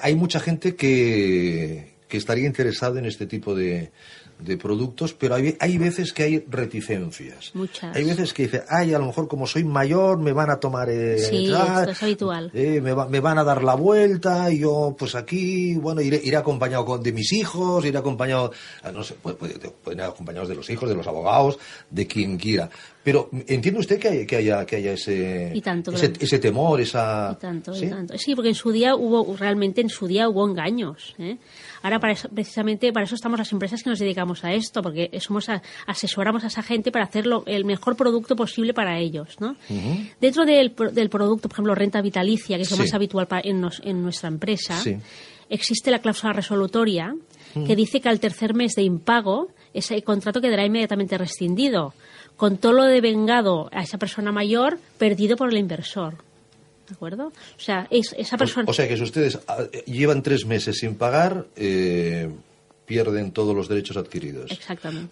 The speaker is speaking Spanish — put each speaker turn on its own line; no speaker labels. Hay mucha gente que, que estaría interesada en este tipo de, de productos, pero hay, hay veces que hay reticencias.
Muchas.
Hay veces que dice, ay, a lo mejor como soy mayor me van a tomar... eh,
Sí,
ah,
esto es habitual.
eh, me, va- me van a dar la vuelta, y yo pues aquí, bueno, iré, iré acompañado con, de mis hijos, iré acompañado, ah, no sé, puede- puede- te- pueden ir acompañados de los hijos, de los abogados, de quien quiera. Pero entiende usted que, hay- que haya, que haya ese,
Y tanto,
ese,
claro.
ese temor, esa...
Y tanto,
¿sí?
y tanto. Sí, porque en su día hubo, realmente en su día hubo engaños. ¿eh? Ahora, para eso- precisamente, para eso estamos las empresas que nos dedicamos a esto, porque somos a- asesoramos a esa gente para hacer lo- el mejor producto posible para ellos. ¿no? Dentro del, pro- del producto, por ejemplo, renta vitalicia, que es lo
Sí.
más habitual pa- en, nos- en nuestra empresa,
Sí.
existe la cláusula resolutoria que dice que al tercer mes de impago ese contrato quedará inmediatamente rescindido, con todo lo devengado a esa persona mayor perdido por el inversor. ¿De acuerdo? O sea, es, esa persona.
Pues, O sea que si ustedes ah, llevan tres meses sin pagar, eh, pierden eh, todos los derechos adquiridos.
Exactamente.